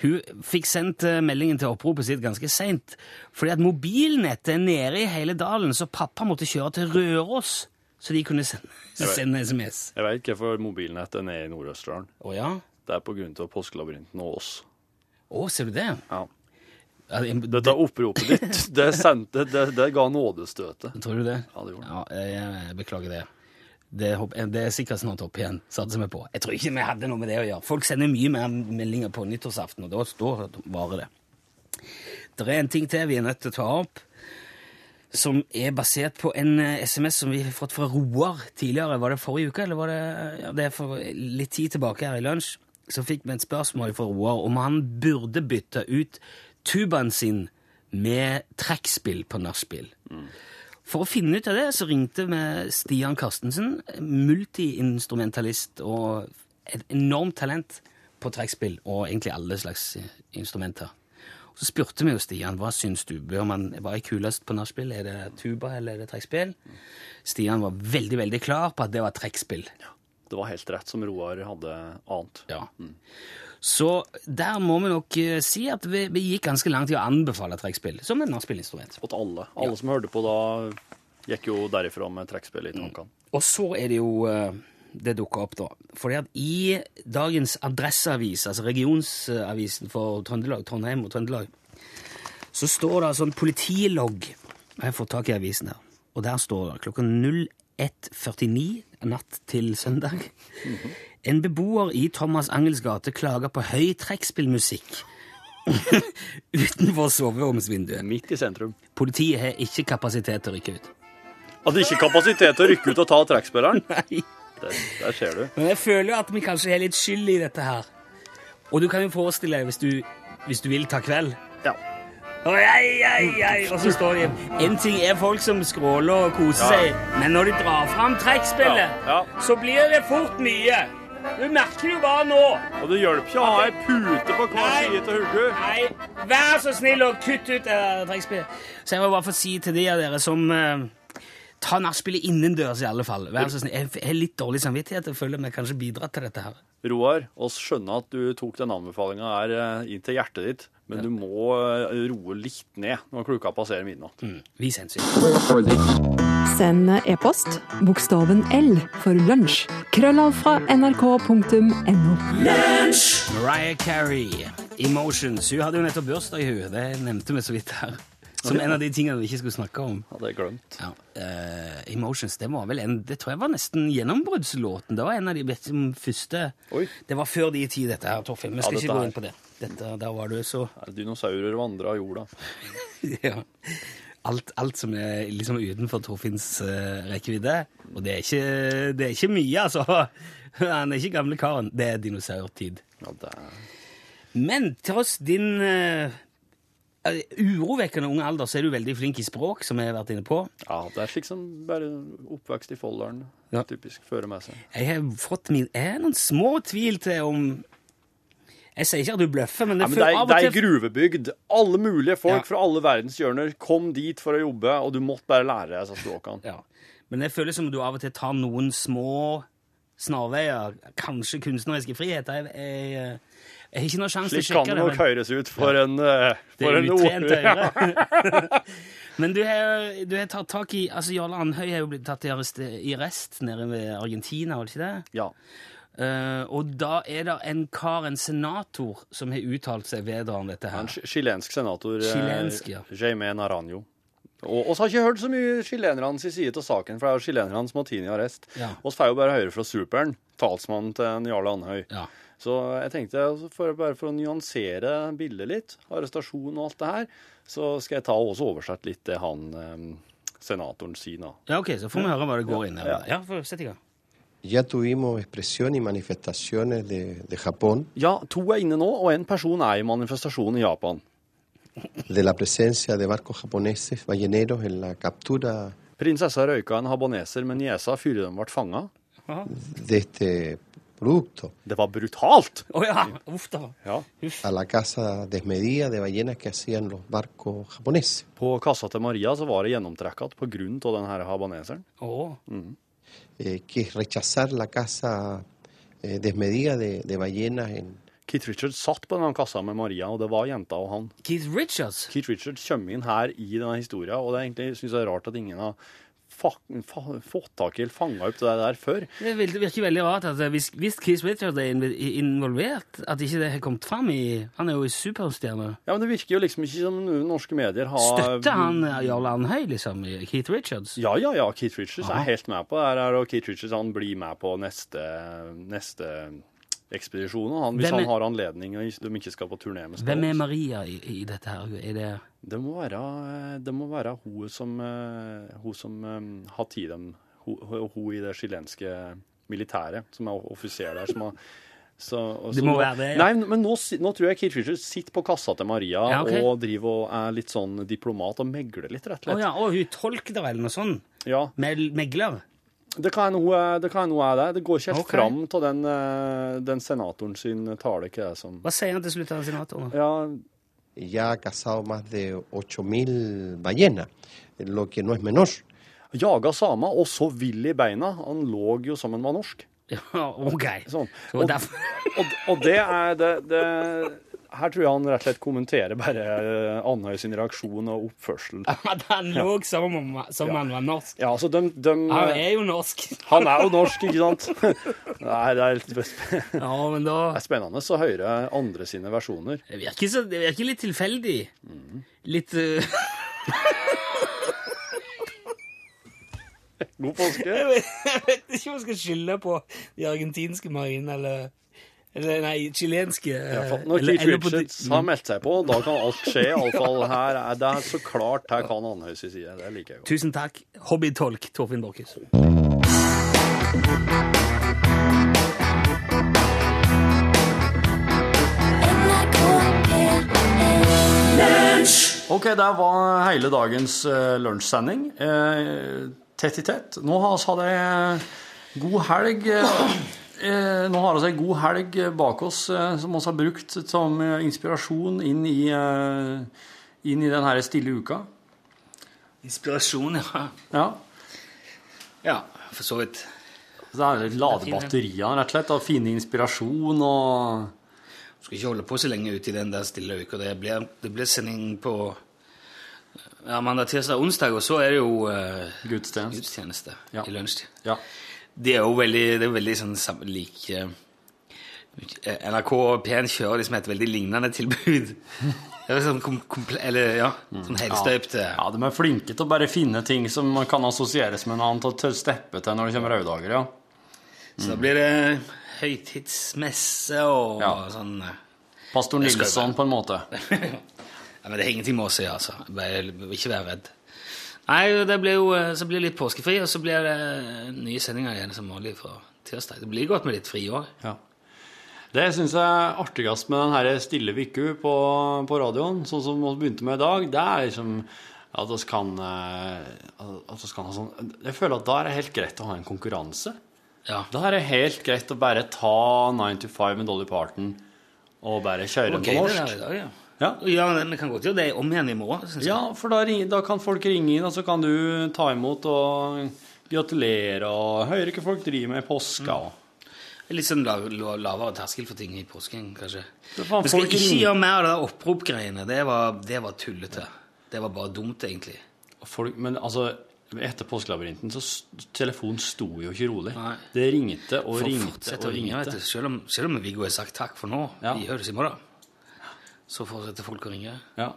Speaker 1: Hun fikk sendt eh, meldingen til oppropet sitt ganske seint, fordi at mobilnettet er nede i hele dalen, så pappa måtte kjøre til Røros, så de kunne sende,
Speaker 2: vet.
Speaker 1: sende SMS.
Speaker 2: Jeg vet ikke hvorfor mobilnettet er nede i Nord-Østerdalen.
Speaker 1: Å ja?
Speaker 2: Det er pga. påskelabyrinten og oss.
Speaker 1: Å, ser du det?
Speaker 2: Ja.
Speaker 1: Ja, det-
Speaker 2: Dette oppropet ditt, det, sendte, det, det ga nådestøtet.
Speaker 1: Tror du det?
Speaker 2: Ja, det gjorde det.
Speaker 1: Ja, jeg, jeg beklager det. Det, håp- det er sikkert snart opp igjen, satser vi på. Jeg tror ikke vi hadde noe med det å gjøre. Folk sender mye mer meldinger på nyttårsaften, og da står varer det. Det er en ting til vi er nødt til å ta opp, som er basert på en eh, SMS som vi har fått fra Roar tidligere. Var det forrige uke, eller var det ja, Det er for litt tid tilbake her i lunsj. Så fikk vi et spørsmål fra Roar om han burde bytte ut tubaen sin med trekkspill på nachspiel. For å finne ut av det, så ringte vi Stian Carstensen, multiinstrumentalist og et enormt talent på trekkspill og egentlig alle slags eh, instrumenter. Og så spurte vi jo Stian hva syns du, bør man være kulest på nachspiel? Er det tuba eller er det trekkspill? Stian var veldig, veldig klar på at det var trekkspill.
Speaker 2: Det var helt rett som Roar hadde ant.
Speaker 1: Ja. Så der må vi nok eh, si at vi, vi gikk ganske langt i å anbefale trekkspill som et nachspielinstrument.
Speaker 2: Fått alle. Alle som hørte på da, gikk jo derifra med trekkspill i tankene.
Speaker 1: Og så er det jo eh, det dukker opp, da. Fordi at i dagens Adresseavis, altså regionsavisen for Trøndelag, Trondheim og Trøndelag, så står det altså en politilogg. Jeg har fått tak i avisen her. Og der står det klokka 01.49 natt til søndag. En beboer i Thomas Angels gate klager på høy trekkspillmusikk utenfor soveromsvinduet.
Speaker 2: Midt i sentrum.
Speaker 1: Politiet har ikke kapasitet til å rykke ut.
Speaker 2: Hadde ikke kapasitet til å rykke ut og ta trekkspilleren.
Speaker 1: Nei.
Speaker 2: Der, der ser du.
Speaker 1: Men jeg føler jo at vi kanskje har litt skyld i dette her. Og du kan jo forestille deg, hvis du, hvis du vil ta kveld
Speaker 2: Ja.
Speaker 1: Oi, ei, ei, ei, Og så står de En ting er folk som skråler og koser
Speaker 2: Ja.
Speaker 1: seg, men når de drar fram trekkspillet,
Speaker 2: Ja, ja.
Speaker 1: så blir det fort mye. Du merker jo bare nå.
Speaker 2: Og det hjelper ikke å ha ei pute på hver
Speaker 1: Nei.
Speaker 2: side til hugget.
Speaker 1: Nei, vær så snill og kutt ut det der trekkspillet. Så jeg må bare få si til de av dere som eh, tar nachspielet innendørs, i alle fall. Vær så snill. Jeg jeg har litt dårlig samvittighet. Jeg føler vi kanskje bidrar til dette her.
Speaker 4: Roar, oss skjønner at du tok den anbefalinga her eh, inn til hjertet ditt, men du må eh, roe litt ned når klokka passerer midnatt.
Speaker 1: Mm, vis hensyn.
Speaker 6: Send e-post bokstaven L for lunsj. Krøllav fra nrk.no.
Speaker 1: Mariah Carey, Emotions. Hun hadde jo nettopp bursdag, hun. Det nevnte vi så vidt her. Som en av de tingene vi ikke skulle snakke om.
Speaker 4: Hadde jeg glemt.
Speaker 1: Ja. eh, Emotions, det var vel en Det tror jeg var nesten gjennombruddslåten. Det var en av de best- som første
Speaker 4: Oi.
Speaker 1: Det var før de ti, dette her, Torfinn. Vi skal
Speaker 4: dette
Speaker 1: ikke gå
Speaker 4: her.
Speaker 1: inn på det. Dette, der var du så
Speaker 4: Er det dinosaurer vandrer av jorda?
Speaker 1: ja. alt, alt som er liksom utenfor Torfinns eh, rekkevidde. Og det er, ikke, det er ikke mye, altså. Han er ikke gamle karen. Det er dinosaurtid.
Speaker 4: Ja, det er...
Speaker 1: Men tross din eh, eh, urovekkende unge alder, så er du veldig flink i språk, som jeg har vært inne på.
Speaker 4: ja, det er slik som bare oppvekst i Folldalen
Speaker 1: Ja.
Speaker 4: typisk fører med seg.
Speaker 1: Jeg har fått min Jeg har noen små tvil til om Jeg sier ikke at du bløffer, men det
Speaker 4: Ja, men det
Speaker 1: føler
Speaker 4: er,
Speaker 1: av
Speaker 4: det er
Speaker 1: og til
Speaker 4: gruvebygd. Alle mulige folk
Speaker 1: Ja.
Speaker 4: fra alle verdenshjørner kom dit for å jobbe, og du måtte bare lære deg disse språkene.
Speaker 1: ja. Men det føles som du av og til tar noen små snarveier, kanskje kunstneriske friheter. Jeg, jeg, eh, jeg har ikke noen sjanse til å
Speaker 4: Slik
Speaker 1: sjekke
Speaker 4: kan det
Speaker 1: det.
Speaker 4: nok høres ut for en, eh,
Speaker 1: Det
Speaker 4: for
Speaker 1: er
Speaker 4: en
Speaker 1: utrent
Speaker 4: ord- Ja.
Speaker 1: øyre. Men du har, du har tatt tak i altså Jarle Andhøy har jo blitt tatt i arrest, i arrest nede ved Argentina, var det ikke det?
Speaker 4: Ja.
Speaker 1: Eh, og da er det en kar, en senator, som har uttalt seg vedrørende dette
Speaker 4: En
Speaker 1: her.
Speaker 4: chi- chilensk senator, eh,
Speaker 1: Chilensk, ja.
Speaker 4: Jaime Naranjo. Og oss har ikke hørt så mye chilenerne sin side til saken, for det er jo chilenerne som har tatt i arrest.
Speaker 1: Ja.
Speaker 4: Oss får jo bare høre fra superen, talsmannen til en Jarle Andhøy.
Speaker 1: Ja.
Speaker 4: Så jeg tenkte, altså, for, bare for å nyansere bildet litt, arrestasjon og alt det her, så skal jeg ta og også oversette litt det han eh, senatoren sier nå.
Speaker 1: Ja, ok, så får vi høre hva det går inn i.
Speaker 4: Ja.
Speaker 1: Ja, for, sett i gang.
Speaker 8: Ya tuvimos expresión y manifestaciones de, de Japón
Speaker 4: Ja, to er inne nå, og en person er i manifestasjon i Japan.
Speaker 8: de la presencia de barcos japoneses balleneros en la captura
Speaker 4: Prinsessa røyka en habaneser med niesa før de ble fanga.
Speaker 8: de este producto
Speaker 4: Det var brutalt!
Speaker 1: Å ja! Uff da.
Speaker 4: Ja.
Speaker 8: a la caza desmedida de ballenas que hacían los barcos japoneses.
Speaker 4: På kassa til Maria så var det gjennomtrekket på grunn av denne habaneseren.
Speaker 1: Å.
Speaker 8: eh, que es rechazar la caza eh, desmedida de, de ballenas en,
Speaker 4: Keith Richards satt på denne kassa med Maria, og det var jenta og han.
Speaker 1: Keith Richards.
Speaker 4: Keith Richards kommer inn her i denne historien, og det er egentlig, synes jeg er rart at ingen har fa fa fått tak i eller fanga opp det der før.
Speaker 1: Det vil- det virker veldig rart at hvis, hvis Keith Richards er inv- involvert, at ikke det har kommet fram i Han er jo en superstjerne.
Speaker 4: Ja, men det virker jo liksom ikke som noen norske medier har
Speaker 1: Støtter han eh, Jarle Andhøy, liksom? Keith Richards?
Speaker 4: Ja, ja, ja. Keith Richards
Speaker 1: Aha.
Speaker 4: er helt med på det her, og Keith Richards han blir med på neste, neste ekspedisjon. og Han, hvis
Speaker 1: Hvem er-
Speaker 4: han har anledning og de ikke skal på turné med
Speaker 1: Hvem er
Speaker 4: Stones.
Speaker 1: Maria i, i dette her? Er det
Speaker 4: Det må være, det må være hun som, eh, hun som eh, har tid dem, hun, hun i det chilenske militæret, som er offiser der, som har så, og
Speaker 1: Det
Speaker 4: så
Speaker 1: må
Speaker 4: nå-
Speaker 1: være det, ja.
Speaker 4: Nei, men nå, si- nå tror jeg Keith Richards sitter på kassa til Maria
Speaker 1: Ja, ok.
Speaker 4: og driver og er litt sånn diplomat og megler litt, rett
Speaker 1: Å
Speaker 4: og slett.
Speaker 1: ja, å, hun tolker det eller noe sånt?
Speaker 4: Ja,
Speaker 1: Mel- Megler?
Speaker 4: Det kan hende hun er- det. Kan hende hun er det. det går ikke helt
Speaker 1: Ok.
Speaker 4: fram til den, eh, den senatoren sin tale, hva er det som
Speaker 1: Hva sier han til slutt, han senatoren?
Speaker 4: Ja,
Speaker 8: ya ha cazado más de 8.000 ballenas, lo que no es menor.
Speaker 4: jaga samer, og så vill i beina. Han lå jo som han var norsk.
Speaker 1: Ja, OK.
Speaker 4: Sånn.
Speaker 1: Så
Speaker 4: Og-
Speaker 1: derfor,
Speaker 4: Og, og det er det, det Her tror jeg han rett og slett kommenterer bare eh, Andøy sin reaksjon og oppførsel.
Speaker 1: at han lå som om som han var norsk.
Speaker 4: Ja, altså, de, de
Speaker 1: Han er jo norsk.
Speaker 4: Han er jo norsk, ikke sant? Nei, det er litt sp- det
Speaker 1: Ja, men da
Speaker 4: er spennende å høre andre sine versjoner.
Speaker 1: Det virker, så, det virker litt tilfeldig. Litt eh,
Speaker 4: God påske.
Speaker 1: Jeg vet jeg vet ikke om jeg skal skylde på de argentinske marine, eller, eller Nei, chilenske.
Speaker 4: Ja,
Speaker 1: eh,
Speaker 4: for Når
Speaker 1: eller-
Speaker 4: Keith
Speaker 1: eller på de-
Speaker 4: Richards har meldt seg på, da kan alt skje. Iallfall her er det er så klart her kan Andøy sin side. Det liker jeg godt.
Speaker 1: Tusen takk, hobbytolk Torfinn Borchhus.
Speaker 4: OK, det var hele dagens eh, lunsjsending. Eh, tett i tett. Nå har vi hatt ei god helg. eh, Eh, nå har vi ei god helg bak oss eh, som vi har brukt som eh, inspirasjon inn i, eh, inn i den her stille uka.
Speaker 1: Inspirasjon, ja.
Speaker 4: Ja.
Speaker 1: Ja, for så vidt.
Speaker 2: Så det er litt lade batteriene, rett og slett, og finne inspirasjon og
Speaker 1: Skal ikke holde på så lenge ute i den der stille uka. Det blir, det blir sending på eh, ja, mandag, tirsdag, onsdag, og så er det jo eh,
Speaker 2: gudstjeneste.
Speaker 1: gudstjeneste
Speaker 2: Ja.
Speaker 1: i lunsjtid.
Speaker 2: Ja.
Speaker 1: Det er jo veldig, det er veldig sånn sam- lik eh, NRK og P1 kjører liksom et veldig lignende tilbud. Det er sånn kom, komple- eller ja, sånn helstøypt. eh.
Speaker 2: Mm. Ja, de er flinke til å bare finne ting som kan assosieres med noe annet, og til å steppe til når det kommer røddager, ja.
Speaker 1: Så da blir det høytidsmesse og
Speaker 2: Ja.
Speaker 1: sånn eh.
Speaker 2: Pastor
Speaker 1: Det skal det
Speaker 2: Nilsson, på en måte.
Speaker 1: Ja, men det har ingenting med oss å gjøre, altså. Bare ikke være redd. Nei, det blir jo, eh, så blir det litt påskefri, og så blir det eh, nye sendinger igjen som vanlig fra tirsdag. Det blir godt med litt fri i år.
Speaker 2: Ja. Det syns jeg er artigst med den her stille uka på, på radioen, sånn som vi begynte med i dag, det er liksom at vi kan, eh, at oss kan ha sånn Jeg føler at da er det helt greit å ha en konkurranse.
Speaker 1: Ja.
Speaker 2: Da er det helt greit å bare ta 9 to 5 med Dolly Parton og bare kjøre
Speaker 1: Det var
Speaker 2: den på
Speaker 1: gøy det
Speaker 2: norsk.
Speaker 1: der i dag, ja.
Speaker 2: Ja.
Speaker 1: Ja, men vi kan godt gjøre det om igjen i morgen, synes jeg.
Speaker 2: Ja, for da, ring- da kan folk ringe inn, og så kan du ta imot og gratulere og høre hva folk driver med i påska. og-
Speaker 1: Litt sånn lav, lav, lavere terskel for ting i påsken, kanskje.
Speaker 2: Det er faen
Speaker 1: Vi skal
Speaker 2: folk
Speaker 1: ikke
Speaker 2: ringer.
Speaker 1: gjøre mer av det der oppropgreiene. Det var, det var tullete. Det var bare dumt, egentlig.
Speaker 2: Og folk, men altså, etter påskelabyrinten så s- telefonen sto jo ikke rolig.
Speaker 1: Nei.
Speaker 2: Det ringte og
Speaker 1: Folk
Speaker 2: ringte
Speaker 1: fortsetter
Speaker 2: og
Speaker 1: å ringe, vet
Speaker 2: ringte.
Speaker 1: du. Selv om, selv om Viggo har sagt takk for nå,
Speaker 2: Ja.
Speaker 1: vi høres i morgen, så fortsetter folk å ringe.
Speaker 2: Ja.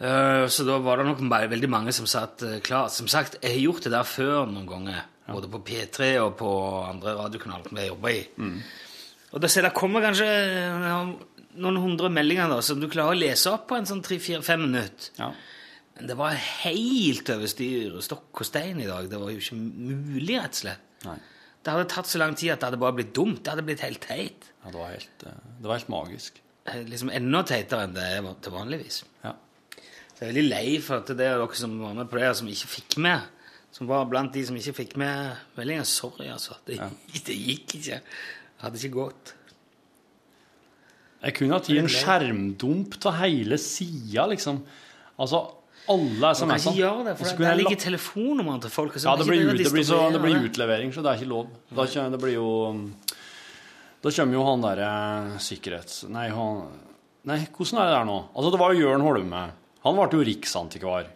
Speaker 1: Eh, så da var det nok bare veldig mange som satt eh, klar. Som sagt, jeg har gjort det der før noen ganger. Både på P3 og på andre radiokanaler som jeg jobber i. Og da ser jeg, det kommer kanskje eh, noen hundre meldinger da, som du klarer å lese opp på en sånn tre-fire-fem minutter.
Speaker 2: Ja.
Speaker 1: Men det var helt over styr stokk og stein i dag. Det var jo ikke mulig, rett og slett.
Speaker 2: Nei.
Speaker 1: Det hadde tatt så lang tid at det hadde bare blitt dumt. Det hadde blitt helt teit.
Speaker 2: ja, det var helt, eh, det var helt magisk.
Speaker 1: Eh, Liksom enda teitere enn det er van- til vanligvis.
Speaker 2: Ja.
Speaker 1: Så jeg er veldig lei for at det er dere som var med på det, og som ikke fikk med. Som var blant de som ikke fikk med meldinga. Sorry, altså. Det, det gikk ikke. Det hadde ikke gått.
Speaker 2: Jeg kunne hatt i en skjermdump til hele sida, liksom. Altså, alle
Speaker 1: Man kan
Speaker 2: SMS-ene.
Speaker 1: ikke gjøre det,
Speaker 2: sånn. Og så
Speaker 1: for
Speaker 2: kunne
Speaker 1: der
Speaker 2: jeg
Speaker 1: ligger telefonnummeret til folk. og så
Speaker 2: Ja,
Speaker 1: kan
Speaker 2: det
Speaker 1: ikke
Speaker 2: blir,
Speaker 1: drive og
Speaker 2: ut, det, blir så, det
Speaker 1: distribuere
Speaker 2: blir utlevering, så det er ikke lov. Da, kjø- det blir jo um, Da kommer jo han derre sikkerhets... Nei, han Nei, hvordan er det der nå? Altså, det var jo Jørn Holme. Han ble jo riksantikvar.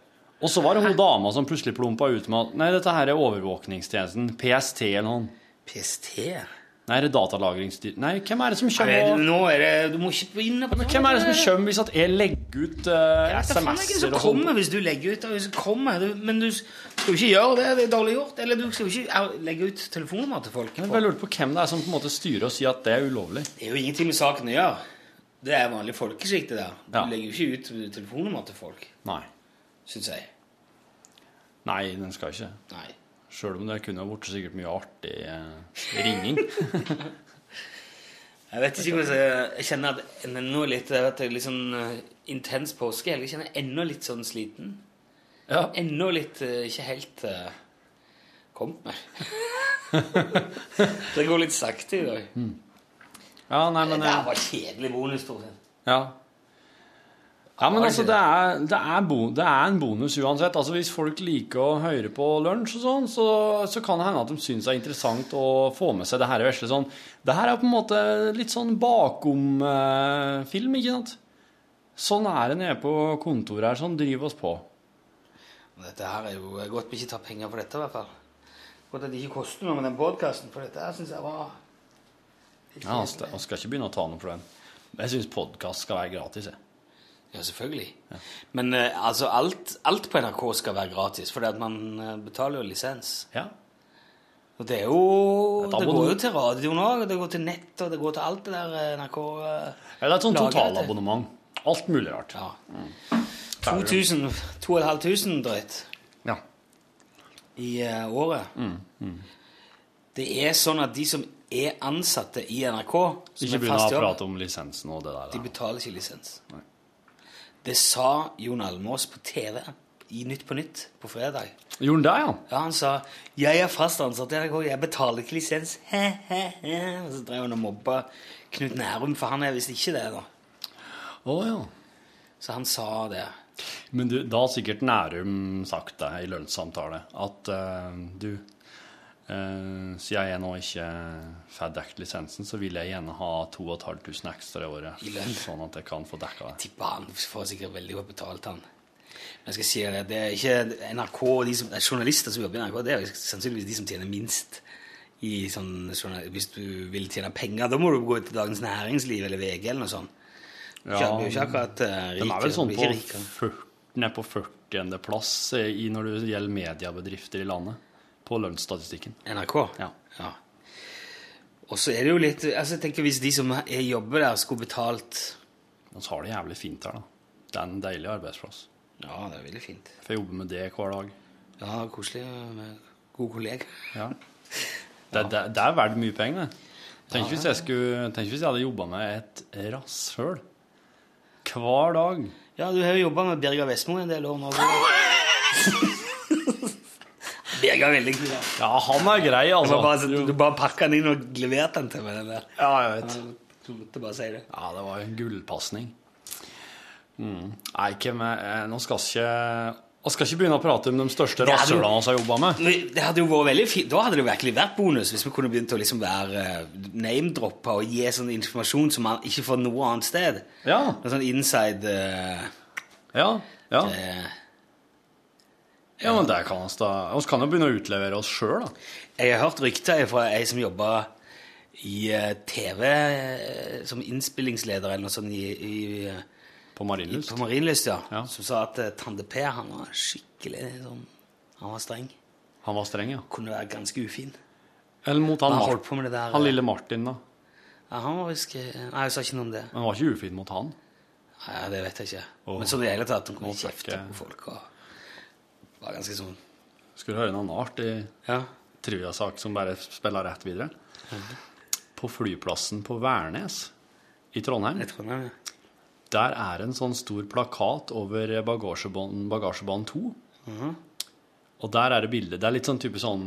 Speaker 2: Og så var det hun dama som plutselig plumpa ut med at Nei, dette her er overvåkningstjenesten. PST eller noen.
Speaker 1: PST?
Speaker 2: Nei, er det datalagringsstyr... Nei, hvem er det som
Speaker 1: Nei,
Speaker 2: kommer og
Speaker 1: nå er det Du må ikke begynne på
Speaker 2: Hvem er det som kommer hvis at jeg legger ut eh,
Speaker 1: Ja, det er faen meg ingen
Speaker 2: SMS-er
Speaker 1: som
Speaker 2: og sånn?
Speaker 1: kommer hvis du legger ut. og så kommer du- Men du skal jo ikke gjøre det. Det er dårlig gjort. Eller du skal jo ikke au, legge ut telefonnummer til folk.
Speaker 2: Jeg bare lurte på hvem det er som på en måte styrer og sier at det er ulovlig.
Speaker 1: Det er jo ingenting med saken å gjøre. Det er vanlig folkeskikk, det der. Du
Speaker 2: Ja.
Speaker 1: legger jo ikke ut telefonnummer til folk,
Speaker 2: Nei.
Speaker 1: syns jeg.
Speaker 2: Nei, den skal ikke.
Speaker 1: Nei.
Speaker 2: Sjøl om det kunne ha vært sikkert mye artig eh, ringing.
Speaker 1: Jeg vet ikke hvordan jeg, jeg kjenner at en- ennå litt Jeg vet det er litt sånn eh, intens påskehelg. Jeg kjenner ennå litt sånn sliten.
Speaker 2: ja.
Speaker 1: Ennå litt eh, ikke helt eh, kommet meg. det går litt sakte i dag.
Speaker 2: ja, nei,
Speaker 1: Det
Speaker 2: men
Speaker 1: der
Speaker 2: eh,
Speaker 1: var kjedelig bonus, stort sett.
Speaker 2: Ja. Ja, men altså, det er, det, er bo, det er en bonus uansett. Altså, Hvis folk liker å høre på lunsj og sånn, så, så kan det hende at de syns det er interessant å få med seg det her vesle sånn. Det her er på en måte litt sånn bakom-film, ikke sant? Sånn er det nede på kontoret her. Sånn driver oss på.
Speaker 1: Dette her er jo godt vi ikke tar penger for dette, i hvert fall. Godt at det ikke koster noe med den podkasten, for dette her syns jeg var
Speaker 2: Ja, Vi skal vi ikke begynne å ta noe for den. Jeg syns podkast skal være gratis, jeg.
Speaker 1: Ja, selvfølgelig. Men eh, altså, alt, alt på NRK skal være gratis, fordi at man eh, betaler jo lisens.
Speaker 2: Ja.
Speaker 1: Og det er jo
Speaker 2: Et
Speaker 1: Det
Speaker 2: abonnement.
Speaker 1: går jo til radioen òg, det går til nett, og det går til alt det der eh, NRK eh,
Speaker 2: Ja, det er et sånn Mm.
Speaker 1: lager dette.
Speaker 2: totalabonnement. Alt mulig rart.
Speaker 1: Ja. 2000 2500 drøyt
Speaker 2: Ja.
Speaker 1: i eh, året.
Speaker 2: Mm,
Speaker 1: Det er sånn at de som er ansatte i NRK, som
Speaker 2: Ikke
Speaker 1: er
Speaker 2: begynn å
Speaker 1: fast jobb
Speaker 2: prate om lisensen og det der.
Speaker 1: De
Speaker 2: da.
Speaker 1: betaler ikke lisens. Det sa Jon Almås på TV i Nytt på Nytt på fredag.
Speaker 2: Gjorde han det, ja?
Speaker 1: Ja, Han sa 'Jeg er fast ansatt i NRK, jeg betaler ikke lisens'. og så drev han og mobba Knut Nærum, for han er visst ikke det. da.
Speaker 2: Å ja.
Speaker 1: Så han sa det.
Speaker 2: Men du, da har sikkert Nærum sagt deg i lønnssamtale at eh, du Eh, Siden jeg nå ikke får dekket lisensen, så vil jeg gjerne ha 2500 ekstra i året.
Speaker 1: I lønn.
Speaker 2: Sånn at jeg kan få dekka det.
Speaker 1: tipper han får sikkert veldig godt betalt, han. Men jeg skal si det, det er ikke NRK og de som, det er journalister som jobber i NRK, det er jo sannsynligvis de som tjener minst. I sånn, journal- hvis du vil tjene penger, da må du gå til Dagens Næringsliv eller VG eller noe sånt. Ja,
Speaker 2: Ja,
Speaker 1: Kjøper jo ikke akkurat uh, rike.
Speaker 2: Den er vel sånn
Speaker 1: blir
Speaker 2: på,
Speaker 1: ikke rike.
Speaker 2: 40, ned på 40. plass eh, i når det gjelder mediebedrifter i landet. På lønnsstatistikken.
Speaker 1: NRK?
Speaker 2: Ja.
Speaker 1: ja. Og så er det jo litt altså jeg tenker Hvis de som er jobber der, skulle betalt
Speaker 2: Men så har det jævlig fint her, da. Det er en deilig arbeidsplass.
Speaker 1: Ja, det er veldig fint.
Speaker 2: Jeg får jobbe med det hver dag.
Speaker 1: Ja, koselig eh, med gode kollegaer.
Speaker 2: Ja. Det, det, det er verdt mye penger, det. Tenk hvis jeg, skulle, tenk hvis jeg hadde jobba med et rasshøl hver dag.
Speaker 1: Ja, du har jo jobba med Birger Vestmo en del år nå. Birger er veldig kul. da.
Speaker 2: Ja, han er grei,
Speaker 1: Du
Speaker 2: altså.
Speaker 1: bare, du bare pakka den inn og leverte den til meg. den der.
Speaker 2: Ja, jeg vet.
Speaker 1: Jeg måtte bare si det.
Speaker 2: Ja, det var en gullpasning. Mm. Nei, hvem er eh, Nå skal vi ikke vi skal ikke begynne å prate om de største
Speaker 1: er jo-
Speaker 2: rasshølene vi har jobba med.
Speaker 1: Men Det hadde jo vært veldig fint. Da hadde det virkelig vært bonus hvis vi kunne begynt å liksom være eh, name-droppe og gi sånn informasjon som man ikke får noe annet sted.
Speaker 2: Ja,
Speaker 1: Noe sånn inside eh,
Speaker 2: ja, ja.
Speaker 1: eh,
Speaker 2: ja men det kan oss da. Vi kan jo begynne å utlevere oss sjøl, da.
Speaker 1: Jeg har hørt rykter fra ei som jobba i eh, TV eh, som innspillingsleder eller noe sånt i, i, eh,
Speaker 2: På Marienlyst.
Speaker 1: på Marienlyst, ja,
Speaker 2: Ja.
Speaker 1: som sa at eh, Tande P han var skikkelig sånn Han var streng.
Speaker 2: Han var streng, ja.
Speaker 1: Kunne være ganske ufin.
Speaker 2: Eller mot
Speaker 1: Han
Speaker 2: han,
Speaker 1: holdt
Speaker 2: Mar
Speaker 1: på med det der
Speaker 2: han
Speaker 1: eh,
Speaker 2: lille Martin, da.
Speaker 1: ja, Han var visst eh, Nei, jeg sa ikke noe om det.
Speaker 2: Men han var ikke ufin mot han.
Speaker 1: Nei, det vet jeg ikke.
Speaker 2: Åh.
Speaker 1: Men sånn i det hele tatt, han kunne
Speaker 2: Nå fikk
Speaker 1: kjefte
Speaker 2: jeg-
Speaker 1: på folk og var ganske sånn
Speaker 2: Skal du høre en annen artig
Speaker 1: Ja.
Speaker 2: trivia-sak som bare spiller rett videre? På flyplassen på Værnes i Trondheim,
Speaker 1: Jeg tror han ja.
Speaker 2: der er en sånn stor plakat over bagasjebånd, bagasjebånd 2. Og der er det bilde. Det er litt sånn type sånn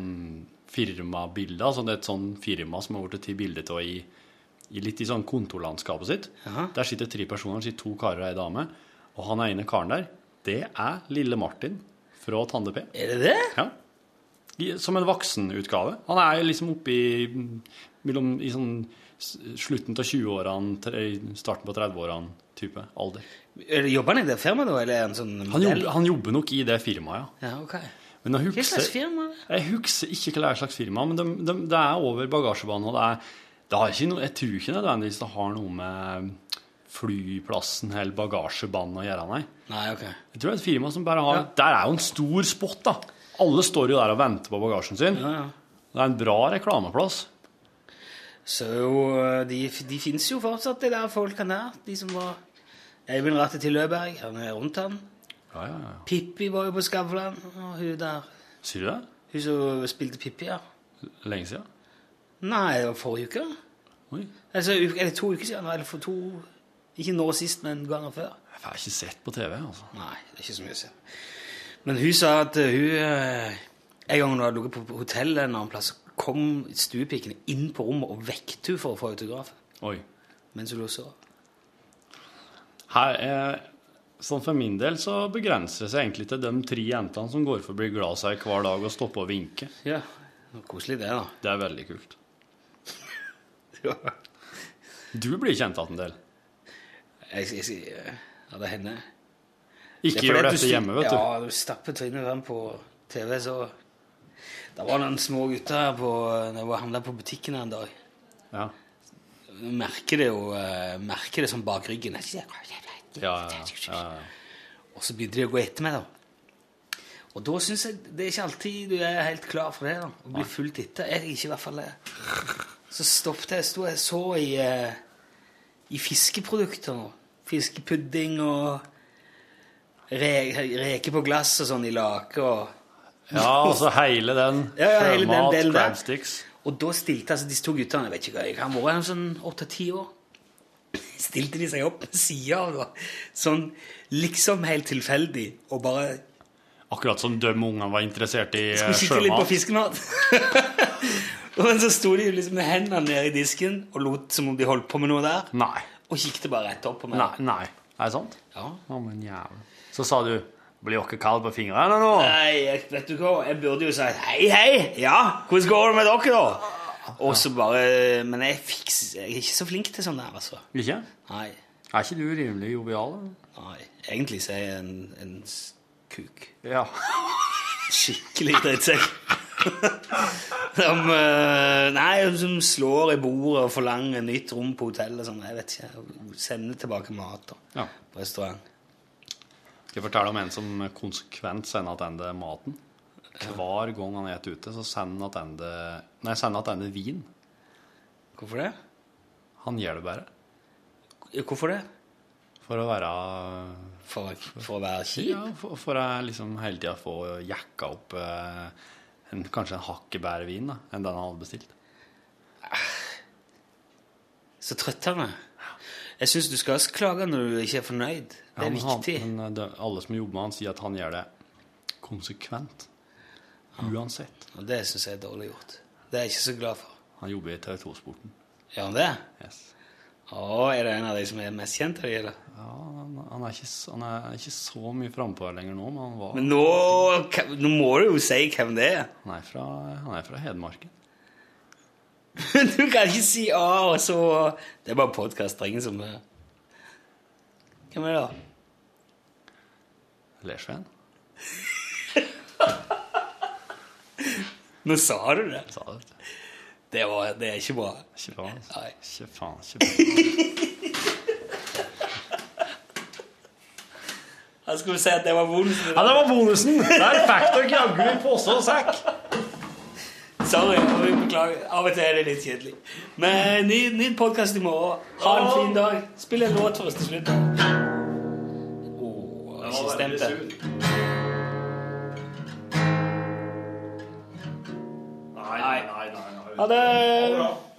Speaker 2: firmabilde. Altså det er et sånn firma som har blitt til bilde av i, i litt i sånn kontorlandskapet sitt.
Speaker 1: Jaha.
Speaker 2: Der sitter tre personer, det sitter to karer og ei dame. Og han ene karen der, det er lille Martin fra Tande P.
Speaker 1: Er det det?
Speaker 2: Ja. I, som en voksenutgave. Han er jo liksom oppe i, mellom, i sånn s- slutten av 20-årene, tre- starten på 30-årene type alder.
Speaker 1: Er det- Jobber han i det firmaet, da? Eller er han sånn
Speaker 2: Han
Speaker 1: modell?
Speaker 2: jobber, han jobber nok i det firmaet, ja.
Speaker 1: Ja, ok.
Speaker 2: Men jeg
Speaker 1: Hva slags
Speaker 2: husker,
Speaker 1: firma? er det?
Speaker 2: jeg husker ikke hva det er slags firma, men de- de- det er over bagasjebanen, og det er, det har ikke noe, jeg tror ikke nødvendigvis det har noe med flyplassen eller bagasjebanen å gjøre, nei.
Speaker 1: Nei, ok.
Speaker 2: Jeg tror det er et firma som bare har Der er jo en stor spot, da. Alle står jo der og venter på bagasjen sin. Det er en bra reklameplass.
Speaker 1: Så øh, de, de fins jo fortsatt, de der folkene der. De som var Eivind Rathe til Løberg, han er rundt han.
Speaker 2: Ja, ja, ja.
Speaker 1: Pippi var jo på Skavlan, og hun der
Speaker 2: Sier du det?
Speaker 1: Hun som spilte Pippi, ja.
Speaker 2: Lenge siden?
Speaker 1: Nei, det var forrige uke.
Speaker 2: Oi.
Speaker 1: Altså, uke, eller to uker siden. Eller for to Ikke nå sist, men ganger før.
Speaker 2: Jeg har ikke sett på TV, altså.
Speaker 1: Nei, det er ikke så mye å se. Men hun sa at øh, hun øh, En gang hun hadde ligget på hotell en annen plass, kom stuepikene inn på rommet og vekket hun for å få autograf
Speaker 2: Oi.
Speaker 1: mens hun lå og sov.
Speaker 2: Her er, sånn For min del så begrenser det seg egentlig til de tre jentene som går forbi glaset her hver dag og stopper og vinker.
Speaker 1: Ja. Koselig, det, da.
Speaker 2: Det er veldig kult.
Speaker 1: Ja.
Speaker 2: Du blir kjent igjen en del.
Speaker 1: Jeg, jeg, jeg, ja, det hender.
Speaker 2: Ikke gjør dette hjemme, vet du.
Speaker 1: Ja, du stapper trynet frem på TV, så Det var noen små gutter her på, når jeg var handla på butikken her en dag.
Speaker 2: Ja.
Speaker 1: Du merker det jo eh, merker det sånn bak ryggen. Og
Speaker 2: Ja, ja, ja, ja.
Speaker 1: så begynte de å gå etter meg, da. Og da syns jeg det er ikke alltid du er helt klar for det. da, Å bli fulgt etter. Jeg er ikke i hvert fall det. Så stoppet jeg. Sto jeg så i, eh, i fiskeprodukter nå. Fiskepudding og re reker på glass og sånn i lake og
Speaker 2: ja altså hele den.
Speaker 1: Ja, ja, hele den
Speaker 2: sjømat,
Speaker 1: delen der.
Speaker 2: crabsticks.
Speaker 1: Og da stilte altså disse to guttene, jeg vet ikke hva, jeg kan være sånn 8-10 år, stilte de seg opp på siden av da, sånn liksom helt tilfeldig, og bare
Speaker 2: Akkurat som de ungene var interessert i eh,
Speaker 1: skulle kikke litt på
Speaker 2: sjømat.
Speaker 1: fiskemat. og men så sto de jo liksom med hendene nede i disken, og lot som om de holdt på med noe der,
Speaker 2: Nei.
Speaker 1: og kikket bare rett opp på meg.
Speaker 2: Nei. nei. Er det sant?
Speaker 1: Ja.
Speaker 2: Å, men jævlig. Så sa du Blir dere kalde på fingrene nå?
Speaker 1: Nei, jeg- vet du hva, jeg burde jo sagt hei, hei, ja, hvordan går det med dere da? Og så bare, men jeg, fikser, jeg er ikke så flink til sånn der, altså.
Speaker 2: Ikke?
Speaker 1: Nei,
Speaker 2: Er ikke du rimelig jovial? da?
Speaker 1: nei, egentlig så er jeg en, en s- kuk.
Speaker 2: Ja.
Speaker 1: Skikkelig drittsekk. Som, eh, nei, som slår i bordet og forlanger nytt rom på hotellet, sånn, jeg vet ikke, sender tilbake mat da,
Speaker 2: ja.
Speaker 1: på restaurant.
Speaker 2: Skal jeg fortelle om en som konsekvent sender tilbake maten? Hver gang han spiser ute, så sender han tilbake- nei, sender han tilbake vin.
Speaker 1: Hvorfor det?
Speaker 2: Han gjør det bare.
Speaker 1: Hvorfor det?
Speaker 2: For å være
Speaker 1: For, for å være kjip?
Speaker 2: Ja, for, for å liksom hele tida få jekka opp eh, en, kanskje en hakket bedre vin da, enn den han hadde bestilt.
Speaker 1: Så trøttende. Jeg syns du skal klage når du ikke er fornøyd. Det er
Speaker 2: Ja, men han-
Speaker 1: viktig.
Speaker 2: men, eh, det- alle som jobber med han, sier at han gjør det konsekvent. Uansett.
Speaker 1: Og det syns jeg er dårlig gjort. Det er jeg ikke så glad for.
Speaker 2: Han jobber i TV 2-sporten.
Speaker 1: Gjør han det?
Speaker 2: Yes.
Speaker 1: Å, er det en av de som er mest kjent av de, eller?
Speaker 2: Ja, han, han, er ikke, s- han er ikke så mye frampå her lenger nå, men han var
Speaker 1: Men nå, nå må du jo si hvem det er.
Speaker 2: Han er fra, han er fra Hedmarken.
Speaker 1: Du kan ikke si A, og så Det er bare podkast. Det er ingen som Hvem er det, da?
Speaker 2: Lersveen.
Speaker 1: Nå sa du det.
Speaker 2: Sa det, vet du.
Speaker 1: Det, var, det er ikke bra.
Speaker 2: Ikke faen. altså.
Speaker 1: Nei.
Speaker 2: Ikke faen. Ikke faen.
Speaker 1: Jeg skulle si at det var vondt.
Speaker 2: Ja, det var bonusen! Der fikk dere jaggu i pose og sekk.
Speaker 1: Sorry. jeg Beklager. Av og til er det litt kjedelig. Men ny, ny podkast i morgen. Ha en fin dag. Spill en låt for oss til slutt. Åh, jeg har ikke stemt det.
Speaker 2: Nei, nei, nei. nei.
Speaker 1: Ha det!
Speaker 2: bra.